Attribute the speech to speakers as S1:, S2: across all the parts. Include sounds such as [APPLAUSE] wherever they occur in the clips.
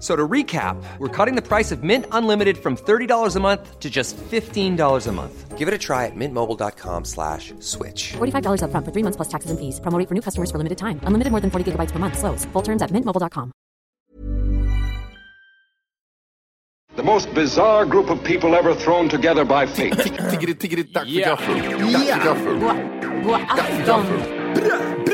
S1: So to recap, we're cutting the price of Mint Unlimited from $30 a month to just $15 a month. Give it a try at mintmobile.com slash switch.
S2: $45 up front for three months plus taxes and fees. Promo rate for new customers for limited time. Unlimited more than 40 gigabytes per month. Slows. Full terms at mintmobile.com.
S3: The most bizarre group of people ever thrown together by fate.
S4: Tiggeri, tiggeri, tack för
S5: Ja.
S4: gaffel. Tack för gaffel.
S2: God afton!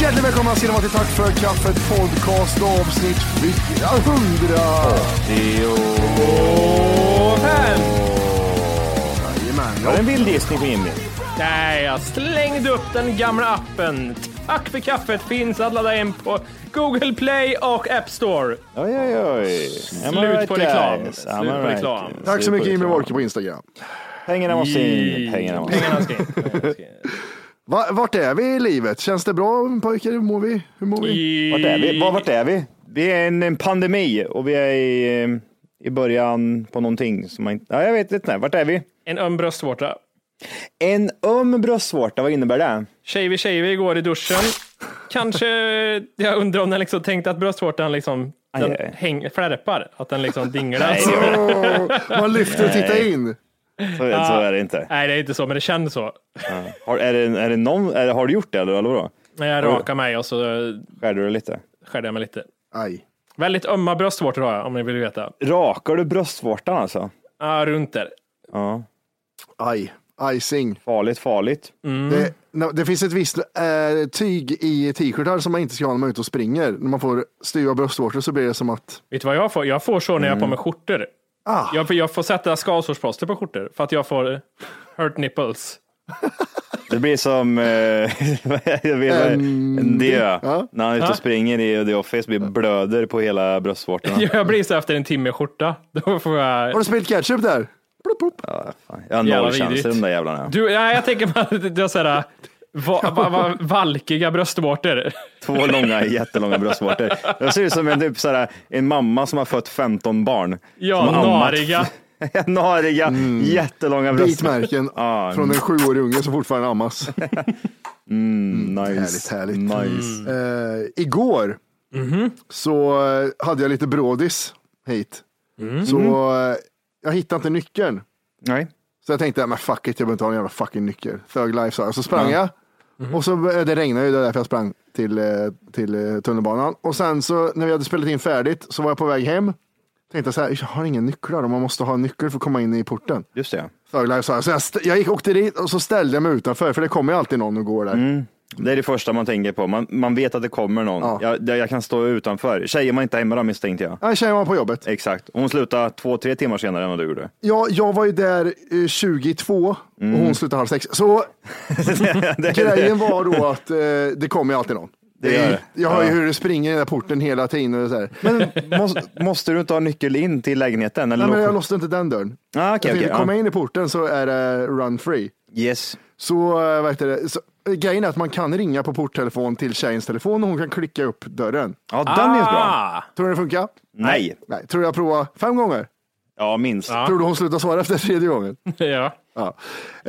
S4: Hjärtligt välkomna ska ni vara till Tack för kaffet podcast avsnitt 400. Jajamän.
S6: Har
S4: Ja,
S6: du en vild gissning på Jimmy?
S5: Nej, jag slängde upp den gamla appen. Tack för kaffet finns att ladda in på Google Play och App Store.
S6: Oj, oj, oj. Am I
S5: Slut på reklam.
S6: guys?
S5: Slut
S6: Am I
S5: på
S6: right?
S5: reklam. Tack
S4: Tack så mycket Jimmy
S6: reklam.
S4: Walker på Instagram.
S6: Pengarna måste in. Pengarna måste in.
S5: Pengarna ska in. Pengarna ska in.
S4: Va, vart är vi i livet? Känns det bra pojkar? Hur mår vi? Hur mår vi?
S6: Vart är vi? Var, vart är vi? Det är en, en pandemi och vi är i, eh, i början på någonting som man inte... Ja, jag vet inte. Vart är vi?
S5: En öm bröstvårta.
S6: En öm bröstvårta, vad innebär det?
S5: Shavey Shavey går i duschen. Kanske, jag undrar om den liksom tänkte att bröstvårtan liksom den
S6: Aj, aj.
S5: häng, flärpar, att den liksom dinglar.
S6: Nej,
S5: Nej,
S6: det-
S4: Åh, man lyfter och tittar in.
S6: Så, så är det inte.
S5: det är inte så, men det känns så.
S6: Har, är det, är det någon, är det, har du gjort det eller, eller vadå?
S5: Men Jag rakar mig och så eh,
S6: Skär du det lite?
S5: skärde jag mig lite.
S4: Aj.
S5: Väldigt ömma bröstvårtor har jag, om ni vill veta.
S6: Rakar du bröstvårtan alltså?
S5: Ah, runt där.
S6: Ja.
S4: Aj. Icing.
S6: Farligt, farligt.
S4: Det, no, Eh, det finns ett visst eh, tyg i t-shirtar som man inte ska ha när man är ute och springer. När man får styva bröstvårtor så blir det som att...
S5: Vet du vad jag får? Jag får så när jag har på mig skjortor.
S4: Mm. Ah.
S5: Jag, jag får sätta skavsårsplåster på skjortor för att jag får hurt nipples.
S6: Det blir som, eh, [LAUGHS] jag vet, en dö. När han är ute och springer i The Office blir blöder på hela bröstvårtorna.
S5: [LAUGHS] Jag blir så efter en timme skjorta. Då får
S4: Ah. Har
S5: jag...
S4: du spilt ketchup där? Plop, plop.
S6: Jag har
S5: Jävla
S6: noll chanser
S5: vidrigt.
S6: de där jävlarna.
S5: Du, ja, jag tänker bara att det är så här, va, va, va, valkiga bröstvårtor. [LAUGHS]
S6: Två långa, jättelånga bröstvårtor. Jag ser ut som en, typ, såhär, en mamma som har fött 15 barn.
S5: Ja,
S6: Som har ammat.
S5: nariga.
S6: [LAUGHS]
S5: [LAUGHS]
S6: nariga,
S4: Mm.
S6: jättelånga bröstvårtor.
S4: Bitmärken
S6: [LAUGHS] Ah,
S4: från en sjuårig unge som fortfarande
S6: [LAUGHS]
S4: ammas.
S6: Nice.
S4: Härligt, härligt.
S6: Nice.
S4: Eh, igår så eh, hade jag lite brådis hit. Så eh, jag hittade inte nyckeln.
S6: Nej.
S4: Så jag tänkte, men fuck it, jag behöver inte ha en jävla fucking nyckel. Thug life sa jag. Så sprang jag. Och så eh, det regnade ju, det var därför jag sprang till, eh, till eh, tunnelbanan. Och sen så när vi hade spelat in färdigt så var jag på väg hem. Tänkte så här, jag har inga nycklar och man måste ha en nyckel för att komma in i porten.
S6: Just det.
S4: Thug life sa jag. Så jag, st- jag gick, åkte dit och så ställde jag mig utanför, för det kommer ju alltid någon och går där.
S6: Mm. Det är det första man tänker på. Man, man vet att det kommer någon.
S4: Ja.
S6: Jag, det- jag kan stå utanför. Tjejer man inte är hemma då misstänkte jag.
S4: Ja, En tjej var på jobbet.
S6: Exakt. Hon slutade två, tre timmar senare än vad du gjorde. [LAUGHS]
S4: Ja, jag var ju där eh, 22
S6: Mm. [LAUGHS]
S4: och hon slutade halv sex. Så grejen var då att eh, det kommer ju alltid någon.
S6: Det gör det.
S4: Jag hör ju hur det springer i den där porten hela tiden. Och så här.
S6: Men [LAUGHS] måste, måste du inte ha nyckel in till lägenheten? Eller
S4: Nej, men jag
S6: något?
S4: låste inte den dörren.
S6: Ah, okej,
S4: jag
S6: okej,
S4: tänkte,
S6: ja.
S4: komma in i porten så är det run free.
S6: Yes.
S4: Så, eh, vad heter det? så eh, grejen är att man kan ringa på porttelefon till tjejens telefon och hon kan klicka upp dörren.
S6: Ja, den är bra.
S5: Ah!
S4: Tror du det funkar?
S6: Nej.
S4: Nej. Tror du jag provar fem gånger?
S6: Ja, minst.
S4: Tror du hon slutar svara efter tredje gången?
S5: Ja.
S4: Ja.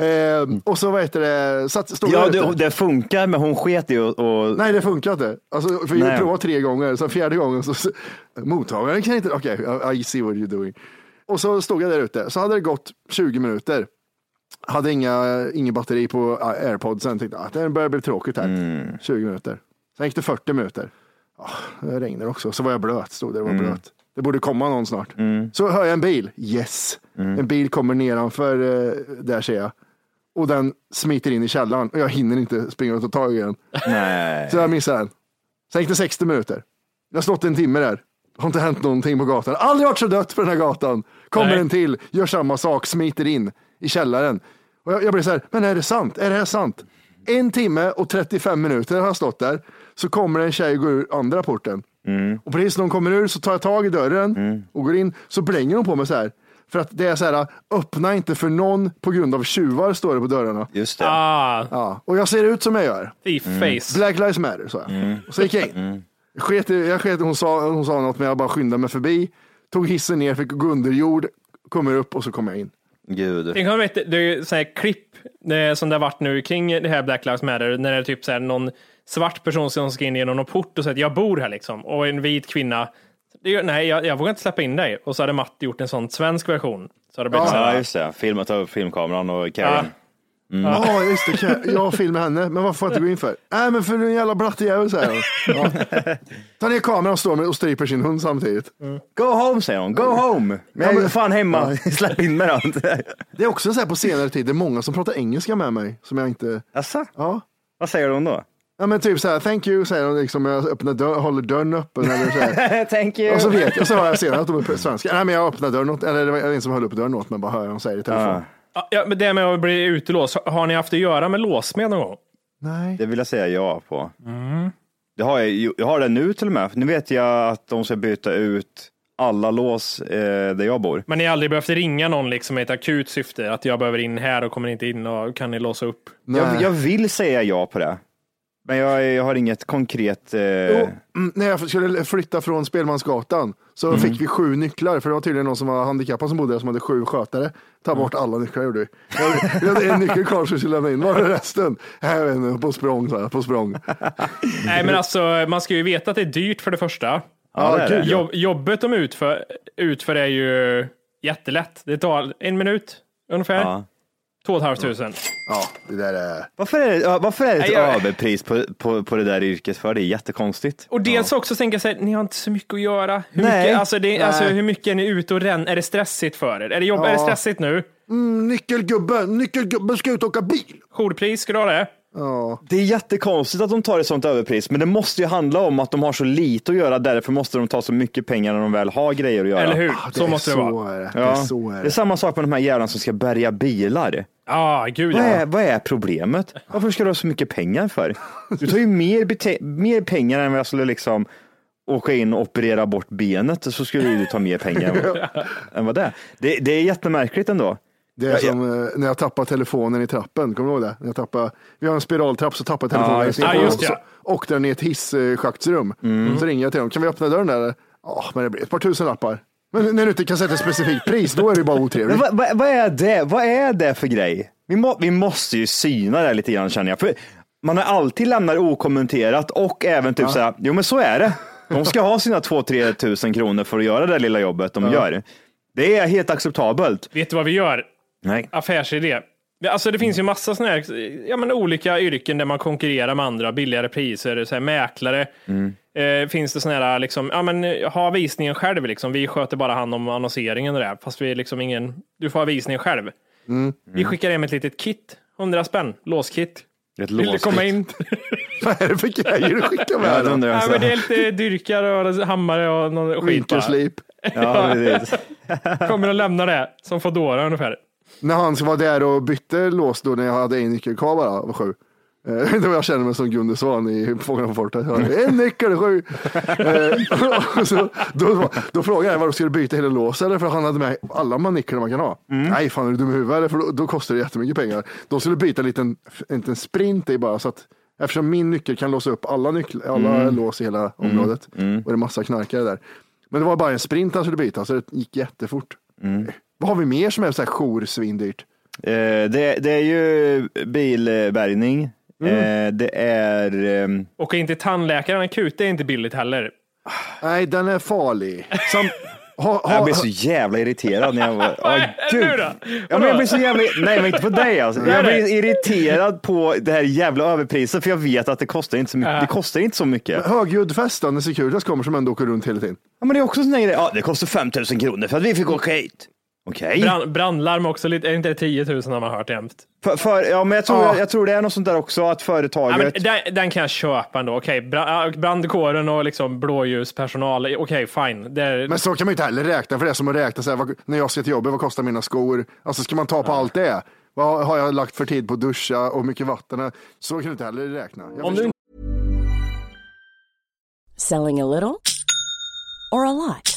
S4: Eh, och så vad heter det, satt, stod
S6: Ja,
S4: jag ute.
S6: det, det funkar, men hon sket i och, och...
S4: Nej, det funkar inte. Alltså, för vi
S6: Nej.
S4: provade tre gånger, sen fjärde gången så, så mottagaren kan inte, okej, I- I see what you're doing. Och så stod jag där ute, så hade det gått 20 minuter. Hade inga, ingen batteri på ah, airpodsen, tänkte att det börjar bli tråkigt här. 20 minuter. Sen gick det 40 minuter. Ah, det regnade också, så var jag blöt, stod där och var blöt. Det borde komma någon snart. Så hör jag en bil, yes. En bil kommer nedanför, eh, där ser jag. Och den smiter in i källaren och jag hinner inte springa och ta tag i den.
S6: Nej.
S4: Så jag missade den. Sen gick det 60 minuter. Jag har stått en timme där. Har inte hänt någonting på gatan. Aldrig varit så dött på den här gatan. Kommer
S5: Nej.
S4: en till, gör samma sak, smiter in i källaren. Och jag, jag blir så här, men är det sant? Är det här sant? En timme och 35 minuter har jag stått där. Så kommer en tjej och går ur andra porten. Och precis när hon kommer ur så tar jag tag i dörren och går in. Så blänger hon på mig så här. För att det är så här, öppna inte för någon på grund av tjuvar står det på dörrarna.
S6: Just det.
S5: Ah,
S4: Ja. Och jag ser ut som jag gör.
S5: i face.
S4: Black Lives Matter sa jag. Och så gick jag in. Jag Sket, i- jag sket, i- hon, sa, hon sa något men jag bara skyndade mig förbi. Tog hissen ner, fick gå under jord, kommer upp och så kom jag in.
S6: Gud.
S5: Tänk om jag vet, det är ju så här klipp eh, som det har varit nu kring det här Black Lives Matter, när det är typ så här någon svart person som ska in genom någon port och säger att jag bor här liksom, och en vit kvinna, det gör, nej, jag, jag vågar inte släppa in dig. Och så hade Matt gjort en sån svensk version. Så hade det blivit så
S6: Ja,
S5: här,
S6: just det. Filma, ta upp filmkameran
S5: Ah.
S6: och Karen.
S4: Ja, just det. kan Jag, jag filmar henne, men varför får jag inte gå in för? Nej, men för du är en jävla blattejävel säger hon. Ja. Tar ner kameran och står med och stryper sin hund samtidigt.
S6: Go home, säger hon. Go
S4: Mm.
S6: home. Men jag är fan hemma. [LAUGHS] Släpp in mig
S4: [LAUGHS]
S6: då.
S4: Det är också så här på senare tid, det är många som pratar engelska med mig som jag inte...
S6: Jaså?
S4: Ja.
S6: Vad säger hon då? [LAUGHS]
S4: Ja men typ så här, thank you säger de liksom, jag öppnar dörr, håller dörren öppen eller så här.
S6: Thank you.
S4: Och så vet jag, så hör jag senare att de är svenskar. Nej men jag öppnade dörren åt, eller det var en som höll upp dörren åt mig, bara hör jag dem säga det i telefon.
S6: Ja.
S5: Ja, "Ah, Ja, men det med att bli utelåst, har ni haft att göra med låsmed någon gång?
S4: Nej.
S6: Det vill jag säga ja på.
S5: Mm.
S6: Det har jag, ju- jag har det nu till och med. Nu vet jag att de ska byta ut alla lås eh, där jag bor.
S5: Men ni har aldrig behövt ringa någon liksom i ett akut syfte, att jag behöver in här och kommer inte in och kan ni låsa upp?
S6: Jag, jag vill säga ja på det. Men jag, jag har inget konkret... Eh,
S4: Jo, mm, när jag skulle flytta från Spelmansgatan så
S5: Mm.
S4: fick vi sju nycklar, för det var tydligen någon som var handikappad som bodde där som hade sju skötare. Ta bort
S5: Mm.
S4: alla nycklar gjorde vi. Jag- Vi hade en nyckel kvar som vi skulle lämna in, var är resten? Nej, Jag vet inte, på språng sa jag, på språng.
S5: Nej, men alltså man ska ju veta att det är dyrt för det första.
S6: ja, det är det.
S5: Jobb, jobbet de utför, utför är ju jättelätt. Det tar en minut ungefär.
S6: Ja.
S5: Två och ett halvt tusen.
S4: Ja, det där är...
S6: Varför är det, ja, varför är det
S5: Nej,
S6: ett
S5: jag-
S6: överpris på, på, på det där yrket? För det är jättekonstigt.
S5: Och dels också tänka sig, ni har inte så mycket att göra. Hur,
S6: Nej.
S5: mycket, alltså, det, alltså, hur mycket är ni ute och ränner? Är det stressigt för er? Är det, jobb, är det stressigt nu?
S4: Mm, nyckelgubbe, nyckelgubbe ska ut och åka bil.
S5: Jourpris, ska du ha det?
S6: Det är jättekonstigt att de tar ett sånt överpris, men det måste ju handla om att de har så lite att göra. Därför måste de ta så mycket pengar när de väl har grejer att göra.
S5: Eller hur?
S4: Ah,
S5: så
S4: är
S5: måste det vara.
S4: Är det.
S6: Ja.
S4: det är så är
S6: det är
S4: det.
S6: samma sak med de här jävlarna som ska bärga bilar.
S5: Ja, ah, gud
S6: Vad,
S5: ja.
S6: är, vad är problemet? Varför ska du ha så mycket pengar för? Du tar ju mer, bete- mer pengar än vad jag skulle liksom åka in och operera bort benet så skulle du ta mer pengar än vad- än vad det är. Det, det är jättemärkligt ändå.
S4: Det är som eh, när jag tappade telefonen i trappen, kommer du ihåg det? När jag tappade, vi har en spiraltrapp så tappade jag telefonen
S6: Ja,
S4: i trappen
S5: det.
S6: just Mm.
S5: Ja, just det.
S4: och så åkte den i ett hisschaktsrum. Så ringer jag till dem, kan vi öppna dörren där? Ja, men det blir ett par tusen lappar. Men när du inte kan sätta ett specifikt pris, då är det ju bara
S6: Men
S4: otrevligt.
S6: vad, vad, vad, är det? vad är det för grej? Vi, må, vi måste ju syna det här lite grann känner jag. För man har alltid lämnat okommenterat och även typ så här, jo men så är det. De ska ha sina 2-3 tusen kronor för att göra det lilla jobbet de gör. Det är helt acceptabelt.
S5: Vet du vad vi gör?
S6: Nej.
S5: affärsidé. Alltså det finns
S6: Mm.
S5: ju massa såna här, ja, men olika yrken där man konkurrerar med andra, billigare priser, så här, mäklare.
S6: Mm.
S5: Eh, finns det såna här, liksom, ja, men, eh, ha visningen själv, liksom. vi sköter bara hand om annonseringen och det där, fast vi är liksom ingen, du får ha visningen själv.
S6: Mm.
S5: Vi skickar hem ett litet kit, 100 spänn, låskit.
S6: Ett
S5: Vill du komma
S6: [LAUGHS]
S5: in?
S4: [LAUGHS] Vad är det för grejer du skickar med?
S6: Ja, det
S4: här då?
S6: undrar jag
S5: ja, men det är
S6: också.
S5: lite dyrkar och hammare och någon skit bara.
S4: Winterslip.
S6: Ja, precis.
S5: [LAUGHS] Kommer och lämnar det, som Foodora ungefär.
S4: När han var där och bytte lås då när jag hade en nyckel kvar bara, var sju. Eh, [LAUGHS] Då jag känner mig som Gunde Svan i Fångarna på fortet. Jag hör, En nyckel, sju! Eh, [LAUGHS] och så, då, då frågade jag varför skulle du byta hela låset eller? För han hade med alla man nycklarna man kan ha. Nej, fan är du dum i huvudet? eller? För då, då kostar det jättemycket pengar. De skulle byta en liten, inte en sprint i bara så att eftersom min nyckel kan låsa upp alla, nyckel, alla lås i hela området och det är massa knarkare där. Men det var bara en sprint han skulle byta så det gick jättefort.
S6: Mm.
S4: Vad har vi mer som är så här joursvindyrt?
S6: Eh, det, det är ju bilbärgning.
S5: Mm.
S6: Eh, det är... ehm,
S5: Åka in till tandläkaren akut, det är inte billigt heller.
S4: Nej, den är farlig. Som, ha, ha,
S6: [LAUGHS] jag blev så jävla irriterad när jag
S5: [LAUGHS]
S6: var... Oh,
S5: nu då?
S6: Ja, men jag blir så jävla... Nej, men inte på dig alltså. Jag blir irriterad på det här jävla överpriset för jag vet att det kostar inte så mycket. Det kostar inte så mycket.
S4: Högljudd fest då, när Securitas kommer som ändå åker runt hela tiden.
S6: Ja, men det är också en sån här grej. Ja, det kostar 5000 kronor för att vi fick åka hit. Okej.
S5: Brand, brandlarm också, lite, är inte det 10 000 har man hört jämt?
S6: För, för, ja, men jag tror,
S4: Ja.
S6: jag, tror det är något sånt där också att företaget.
S5: Ja, men den, den kan jag köpa ändå. Okej, bra- ja, brandkåren och liksom blåljuspersonal. Okej, fine. Det är,
S4: Men så kan man ju inte heller räkna, för det är som att räkna så här, vad, när jag ska till jobbet, vad kostar mina skor? Alltså ska man ta på allt det? Vad har jag lagt för tid på att duscha och hur mycket vatten? är- Så kan du inte heller räkna. Jag
S5: om
S4: förstår.
S5: du
S7: Selling a little or a lot?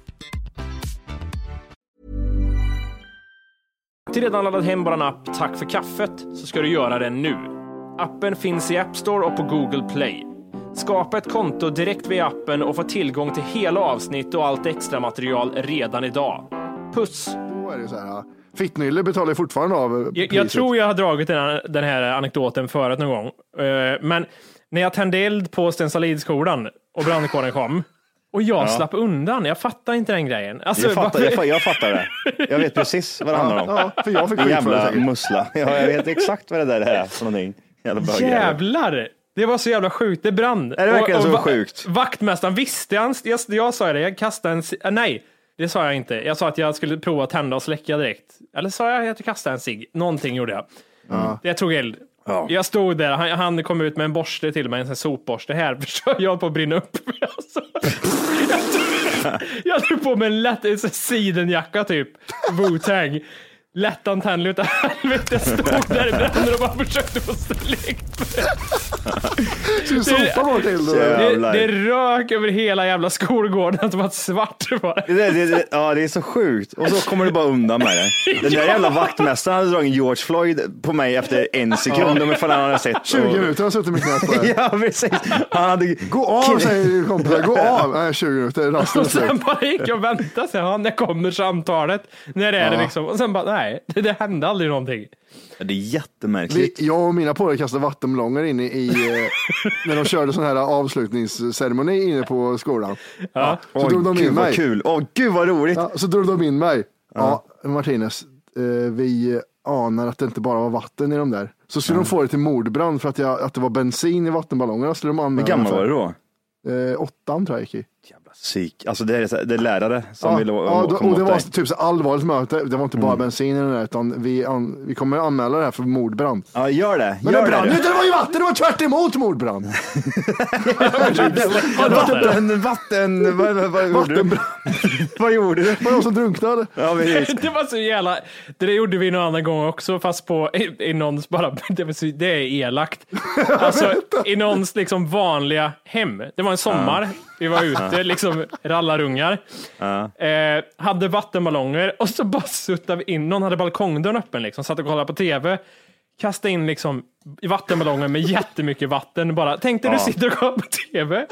S5: inte redan laddat hem vår app Tack för kaffet så ska du göra det nu. Appen finns i App Store och på Google Play. Skapa ett konto direkt via appen och få tillgång till hela avsnitt och allt extra material redan idag. Puss!
S4: Då är det så här, ja. Fittnylle betalar ju fortfarande av eh,
S5: Jag,
S4: priset.
S5: jag tror jag har dragit den här, den här anekdoten förut någon gång. Eh, Men när jag tände eld på Stensalidskolan och brandkåren
S6: [LAUGHS]
S5: kom och jag slapp undan. Jag fattar inte den grejen. Alltså,
S6: jag, fattar,
S5: varför-
S6: jag, fa- jag fattar det. Jag vet precis vad det handlar om.
S4: Ja, för jag fick
S6: Din
S4: skit för det
S6: jävla
S4: säkert.
S6: mussla. Ja, jag vet exakt vad det där är för någonting. Jävla bögjävel.
S5: Jävlar! Det var så jävla sjukt. Det brann.
S6: Är det verkligen så
S5: va-
S6: sjukt?
S5: Vaktmästaren visste. Han, jag, jag sa det. Jag kastade en... ci- äh, Nej, det sa jag inte. Jag sa att jag skulle prova att tända och släcka direkt. Eller sa jag att jag kastade en cigg? Någonting gjorde jag. Mm. Jag tog eld. Jag stod där. Han, han kom ut med en borste till mig. En sån här sopborste. Här [LAUGHS] försöker jag höll på att brinna upp. [LAUGHS] Alltså, jag tog- jag tog på mig en lätt en sån här sidenjacka typ. Wu-Tang. Lättantändlig utav helvete. Jag stod där i bränder och bara försökte få släckt
S4: Du sopar bara till det.
S5: det,
S6: Jävlar.
S5: det rök över hela jävla skolgården, att det var svart bara.
S6: Det, där- det, det, ja, det är så sjukt. Och så kommer du bara undan med det. Den där jävla vaktmästaren hade dragit George Floyd på mig efter en sekund. Om ifall han
S4: [LAUGHS]
S6: hade sett.
S4: 20 minuter har jag suttit med knät
S6: [LAUGHS]
S4: på det.
S6: [LAUGHS] Ja, precis. Han hade...
S4: Gå av säger kompisar,
S6: [LAUGHS]
S4: gå av. Nej, 20 minuter, rasten är
S5: Och sen
S4: slut.
S5: bara gick jag och väntade, sen, ja, när kommer samtalet? När är det liksom? Och sen bara, nej, det, det hände aldrig
S6: [LAUGHS]
S5: någonting.
S6: Ja, Det är
S4: Vi,
S6: jättemärkligt.
S4: jag och mina polare kastade vattenmelonger inne i,
S6: [LAUGHS]
S4: eh, när de körde sån här avslutningsceremoni inne på skolan.
S5: Ja.
S4: Så drog de
S6: gud
S4: in mig.
S6: vad kul. Åh, gud vad roligt.
S4: Ja, så drog de in mig. Ja, Martinez, eh, vi anar att det inte bara var vatten i de där. Så skulle de få det till mordbrand för att, jag, att det var bensin i vattenballongerna. Skulle de anmäla
S6: Hur gammal
S4: mig för.
S6: var du då?
S4: Eh, åttan tror jag gick i.
S6: Psyk. Alltså det är, så- det är lärare som
S4: Ja,
S6: vill å-
S4: ja, då-
S6: komma
S4: och det
S6: åt
S4: var
S6: dig.
S4: typ så allvarligt möte. Det var inte
S6: Mm.
S4: bara bensin i den där, utan vi, an, vi kommer att anmäla det här för mordbrand.
S6: Ja, gör det.
S4: Men
S6: gör
S4: det brann
S6: det.
S4: ju [LAUGHS] inte, det var ju vatten, det var tvärt emot mordbrand.
S6: typ- Vatten, vatten, vad, vad, vad gjorde du? vad gjorde du?
S4: Det var de som drunknade.
S6: Ja, precis.
S5: [LAUGHS] Det var så jävla, det där gjorde vi någon annan gång också, fast på, i, i någons bara, [LAUGHS] det, var så, det är elakt. Alltså, i någons liksom vanliga hem. Det var en sommar, Vi var ute, liksom rallarungar. Eh, hade vattenballonger och så bara suttade vi in. Någon hade balkongdörren öppen, liksom, satt och kollade på tv. Kastade in liksom vattenballonger med jättemycket vatten. Bara, tänk dig du sitter och kollar på tv.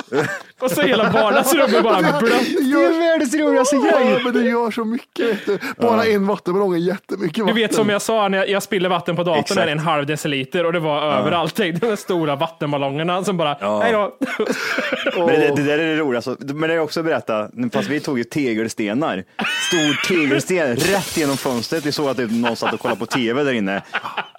S5: Och så hela vardagsrummet bara blött.
S4: Du
S6: Det
S4: gör-
S6: är världens roligaste
S4: Ja,
S6: grej.
S4: men du gör så mycket. vet du. Bara en vattenballong är jättemycket
S5: Du
S4: vatten.
S5: vet som jag sa, när jag, jag spiller vatten på datorn,
S6: Exakt.
S5: där, en halv deciliter och det var överallt. Tänk De där stora vattenballongerna som bara, hej
S6: [LAUGHS]
S5: då.
S6: Men det, det där är det roligaste. Men det är också att berätta, fast vi tog ju tegelstenar. Stor tegelsten rätt genom fönstret. Vi såg att typ någon satt och kollade på tv där inne.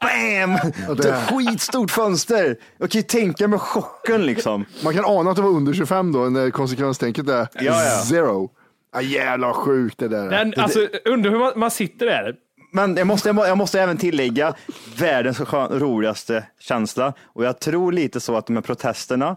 S6: Bam! Det är skitstort fönster. Jag kan ju tänka mig chocken liksom.
S4: Man kan ana att det var under 25 då, när konsekvenstänket är
S6: ja.
S4: zero. Ah, jävla sjukt det där.
S5: Den, alltså, undrar hur man, man sitter där.
S6: Men jag måste, jag må- jag måste även tillägga världens skön, roligaste känsla. Och jag tror lite så att de här protesterna,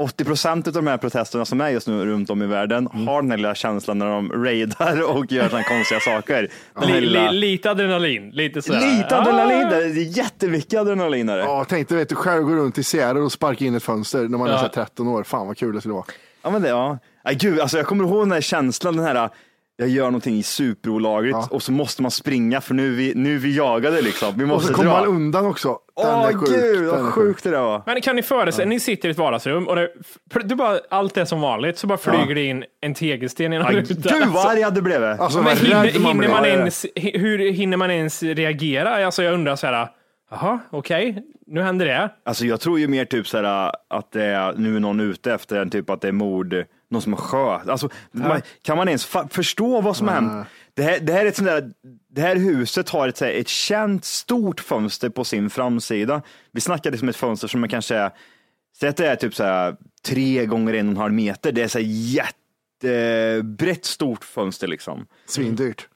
S6: 80 procent av de här protesterna som är just nu runt om i världen
S4: Mm.
S6: har den här lilla känslan när de raidar och gör sådana konstiga saker. Den här
S5: Li,
S6: lilla,
S5: li, lite adrenalin. Lite, sådär.
S6: lite adrenalin, där. det är jättemycket adrenalin. där.
S4: Ah. Ja, tänk dig vet du, själv gå runt i Sierra och sparka in ett fönster när man är
S5: Ja.
S4: så här 13 år. Fan vad kul det skulle vara.
S6: Ja, men det, ja. Ay, gud, alltså jag kommer ihåg den här känslan, den här jag gör någonting superolagligt och så måste man springa för nu är vi, nu är vi jagade liksom. Vi
S4: Och
S6: måste
S4: så kommer
S6: dra.
S4: man undan också. Den
S6: Åh
S4: är sjuk.
S6: gud,
S4: Den är
S6: vad sjukt det där var.
S5: Men kan ni föreställa ni sitter i ett vardagsrum och det, du bara, allt är som vanligt, så bara flyger det in en tegelsten genom
S6: Aj,
S5: rutan.
S6: Gud vad arg jag hade blivit.
S4: Alltså
S5: Men
S4: vad
S5: hinner,
S4: rädd man
S5: hinner
S4: blir.
S5: man
S6: Ja, ja.
S5: ens, hi- hur hinner man ens reagera? Alltså jag undrar så här, jaha, okej, nu händer det.
S6: Alltså jag tror ju mer typ så här att det är, nu är någon ute efter en typ att det är mord, någon som har sköt. Alltså, man, kan man ens fa- förstå vad som har hänt? Det här, det här är ett sånt där, det här huset har ett, så här, ett känt stort fönster på sin framsida. Vi snackade liksom ett fönster som är kanske, säg att det är typ så här tre gånger en och en halv meter. Det är så här jättebrett stort fönster liksom.
S4: Svindyrt.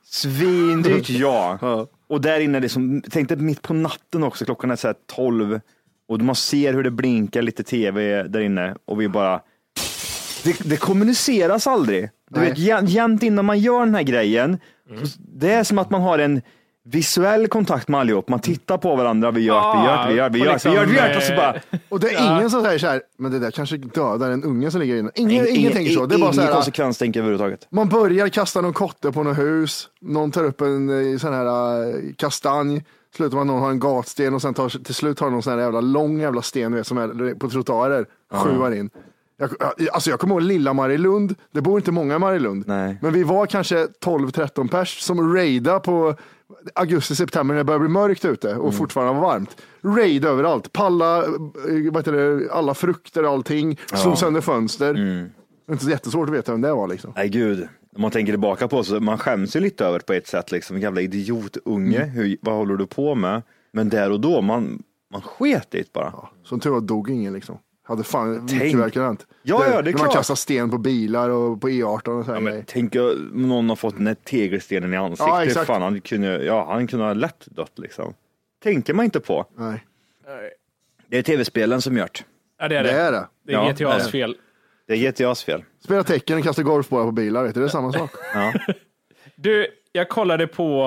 S4: [LAUGHS]
S6: Svindyrt ja. Och där inne, liksom, tänk dig mitt på natten också, klockan är så här 12 och man ser hur det blinkar lite tv där inne och vi bara, det, det kommuniceras aldrig. Du
S4: Nej. Mm.
S6: vet, jä- jämt innan man gör den här grejen, så- det är som att man har en visuell kontakt med allihop. Man tittar på varandra, vi gör det, vi gör det, vi gör det, vi
S5: Ja,
S6: gör det, vi gör det, vi gör det. Och så
S5: liksom,
S6: bara,
S4: Och det är ingen som säger så här, men det där kanske dödar en unge som ligger inne. Ingen, ingen, tänker så. Det är bara så
S6: ingen
S4: här,
S6: konsekvenstänk överhuvudtaget.
S4: man börjar kasta någon kotte på något hus. Någon tar upp en eh, sån här eh, kastanj. Slutar man någon har en gatsten och sen tar, till slut har någon sån här jävla lång jävla sten du vet, som är på trottoarer. Sjuar in. Jag, jag- alltså jag kommer ihåg lilla Marilund. Det bor inte många i Marilund.
S6: Nej.
S4: Men vi var kanske 12-13 pers som raida på augusti, september när det började bli mörkt ute och fortfarande var varmt. Raid överallt. Palla eh, vad heter det, alla frukter och allting. Slog sönder fönster. Inte så jättesvårt att veta vem det var liksom.
S6: Nej gud, om man tänker tillbaka på så man skäms ju lite över på ett sätt, liksom en jävla idiotunge,
S4: Mm.
S6: Hur, vad håller du på med? Men där och då, man, man sket i det bara.
S4: Som tur var dog ingen liksom. Hade fan
S6: Tänk.
S4: mycket verkar hänt.
S6: Ja, ja, det
S4: när
S6: är
S4: man
S6: klart.
S4: kastar sten på bilar och på E18 och så här
S6: Ja,
S4: grejer.
S6: men, tänk eh, om någon har fått den här tegelstenen i
S4: Ja,
S6: ansiktet,
S4: exakt.
S6: fan, han, kunde, ja, han kunde ha lätt dött liksom. Tänker man inte på.
S4: Nej,
S6: Det är tv-spelen som gjort.
S5: Ja, det är det.
S4: det är det.
S5: Det är
S6: Ja, det är
S5: GTAs
S6: det.
S5: fel.
S6: Det är GTAs fel.
S4: Spela tecken och kasta golfbollar på bilar, vet du? det är samma
S6: [LAUGHS]
S4: sak.
S5: Du, jag kollade på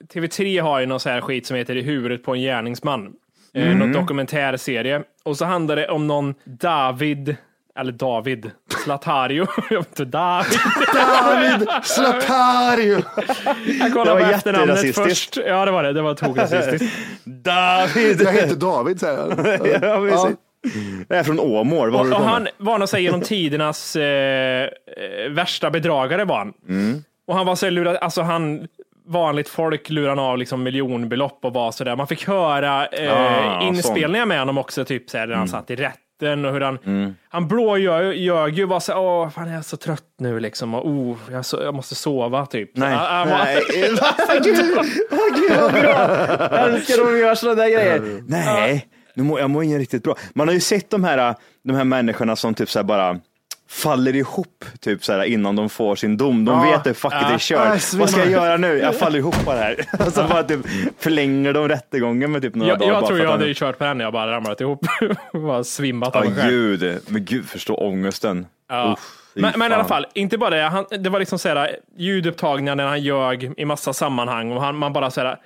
S5: eh, TV3 har ju någon så här skit som heter I huvudet på en gärningsman. Mm. Någon dokumentärserie. Och så handlar det om någon David, eller David, Zlatario. [LAUGHS] jag vet inte,
S6: [LAUGHS]
S5: David.
S4: [LAUGHS] David Zlatario!
S5: Jag kollade
S6: Det
S5: på
S6: var
S5: efternamnet
S6: jätterasistiskt.
S5: först. Ja, det var det. Det var tokrasistiskt.
S6: David!
S4: Jag heter David säger han.
S6: [LAUGHS] ja, precis. Det är från Åmål. Var
S5: Och,
S6: har du
S5: och
S6: kommit?
S5: han var nog så här genom tidernas eh, eh, värsta bedragare var han.
S6: Mm.
S5: Och han var så här lurad, alltså han, vanligt folk lurar han av liksom miljonbelopp och var sådär. Man fick höra eh,
S6: Ah, Mm.
S5: inspelningar med honom också, typ så här, när han satt i rätten och hur han, han blåljög ju och var så här, åh fan jag är så trött nu liksom och oh, jag, är så, jag måste sova typ.
S6: Nej.
S5: Så, ah, ah,
S6: Nej.
S4: [LAUGHS]
S6: Vad kul! Vad kul, vad bra! Jag älskar om vi gör sådana där grejer. Nej, nu mår, jag mår inte riktigt bra. Man har ju sett de här, de här människorna som typ så här bara faller ihop typ så här, innan de får sin dom. De
S4: Ja.
S6: vet att fuck it, det är
S4: Ja,
S6: kört.
S4: svimmar.
S6: Vad ska jag göra nu? Jag faller ihop bara här. [LAUGHS] Och så bara typ förlänger de rättegången med typ några
S5: jag
S6: dagar.
S5: jag
S6: bara
S5: tror
S6: för
S5: jag
S6: att han-
S5: hade kört på den när jag bara ramlat ihop. [LAUGHS] bara svimmat av mig
S6: Ja,
S5: själv.
S6: gud. Men gud, förstå ångesten.
S5: Ja.
S6: Uff, fy
S5: men, men i alla
S6: fan.
S5: fall, inte bara det. Han, det var liksom såhär, ljudupptagningar när han ljög i massa sammanhang och han, man bara såhär,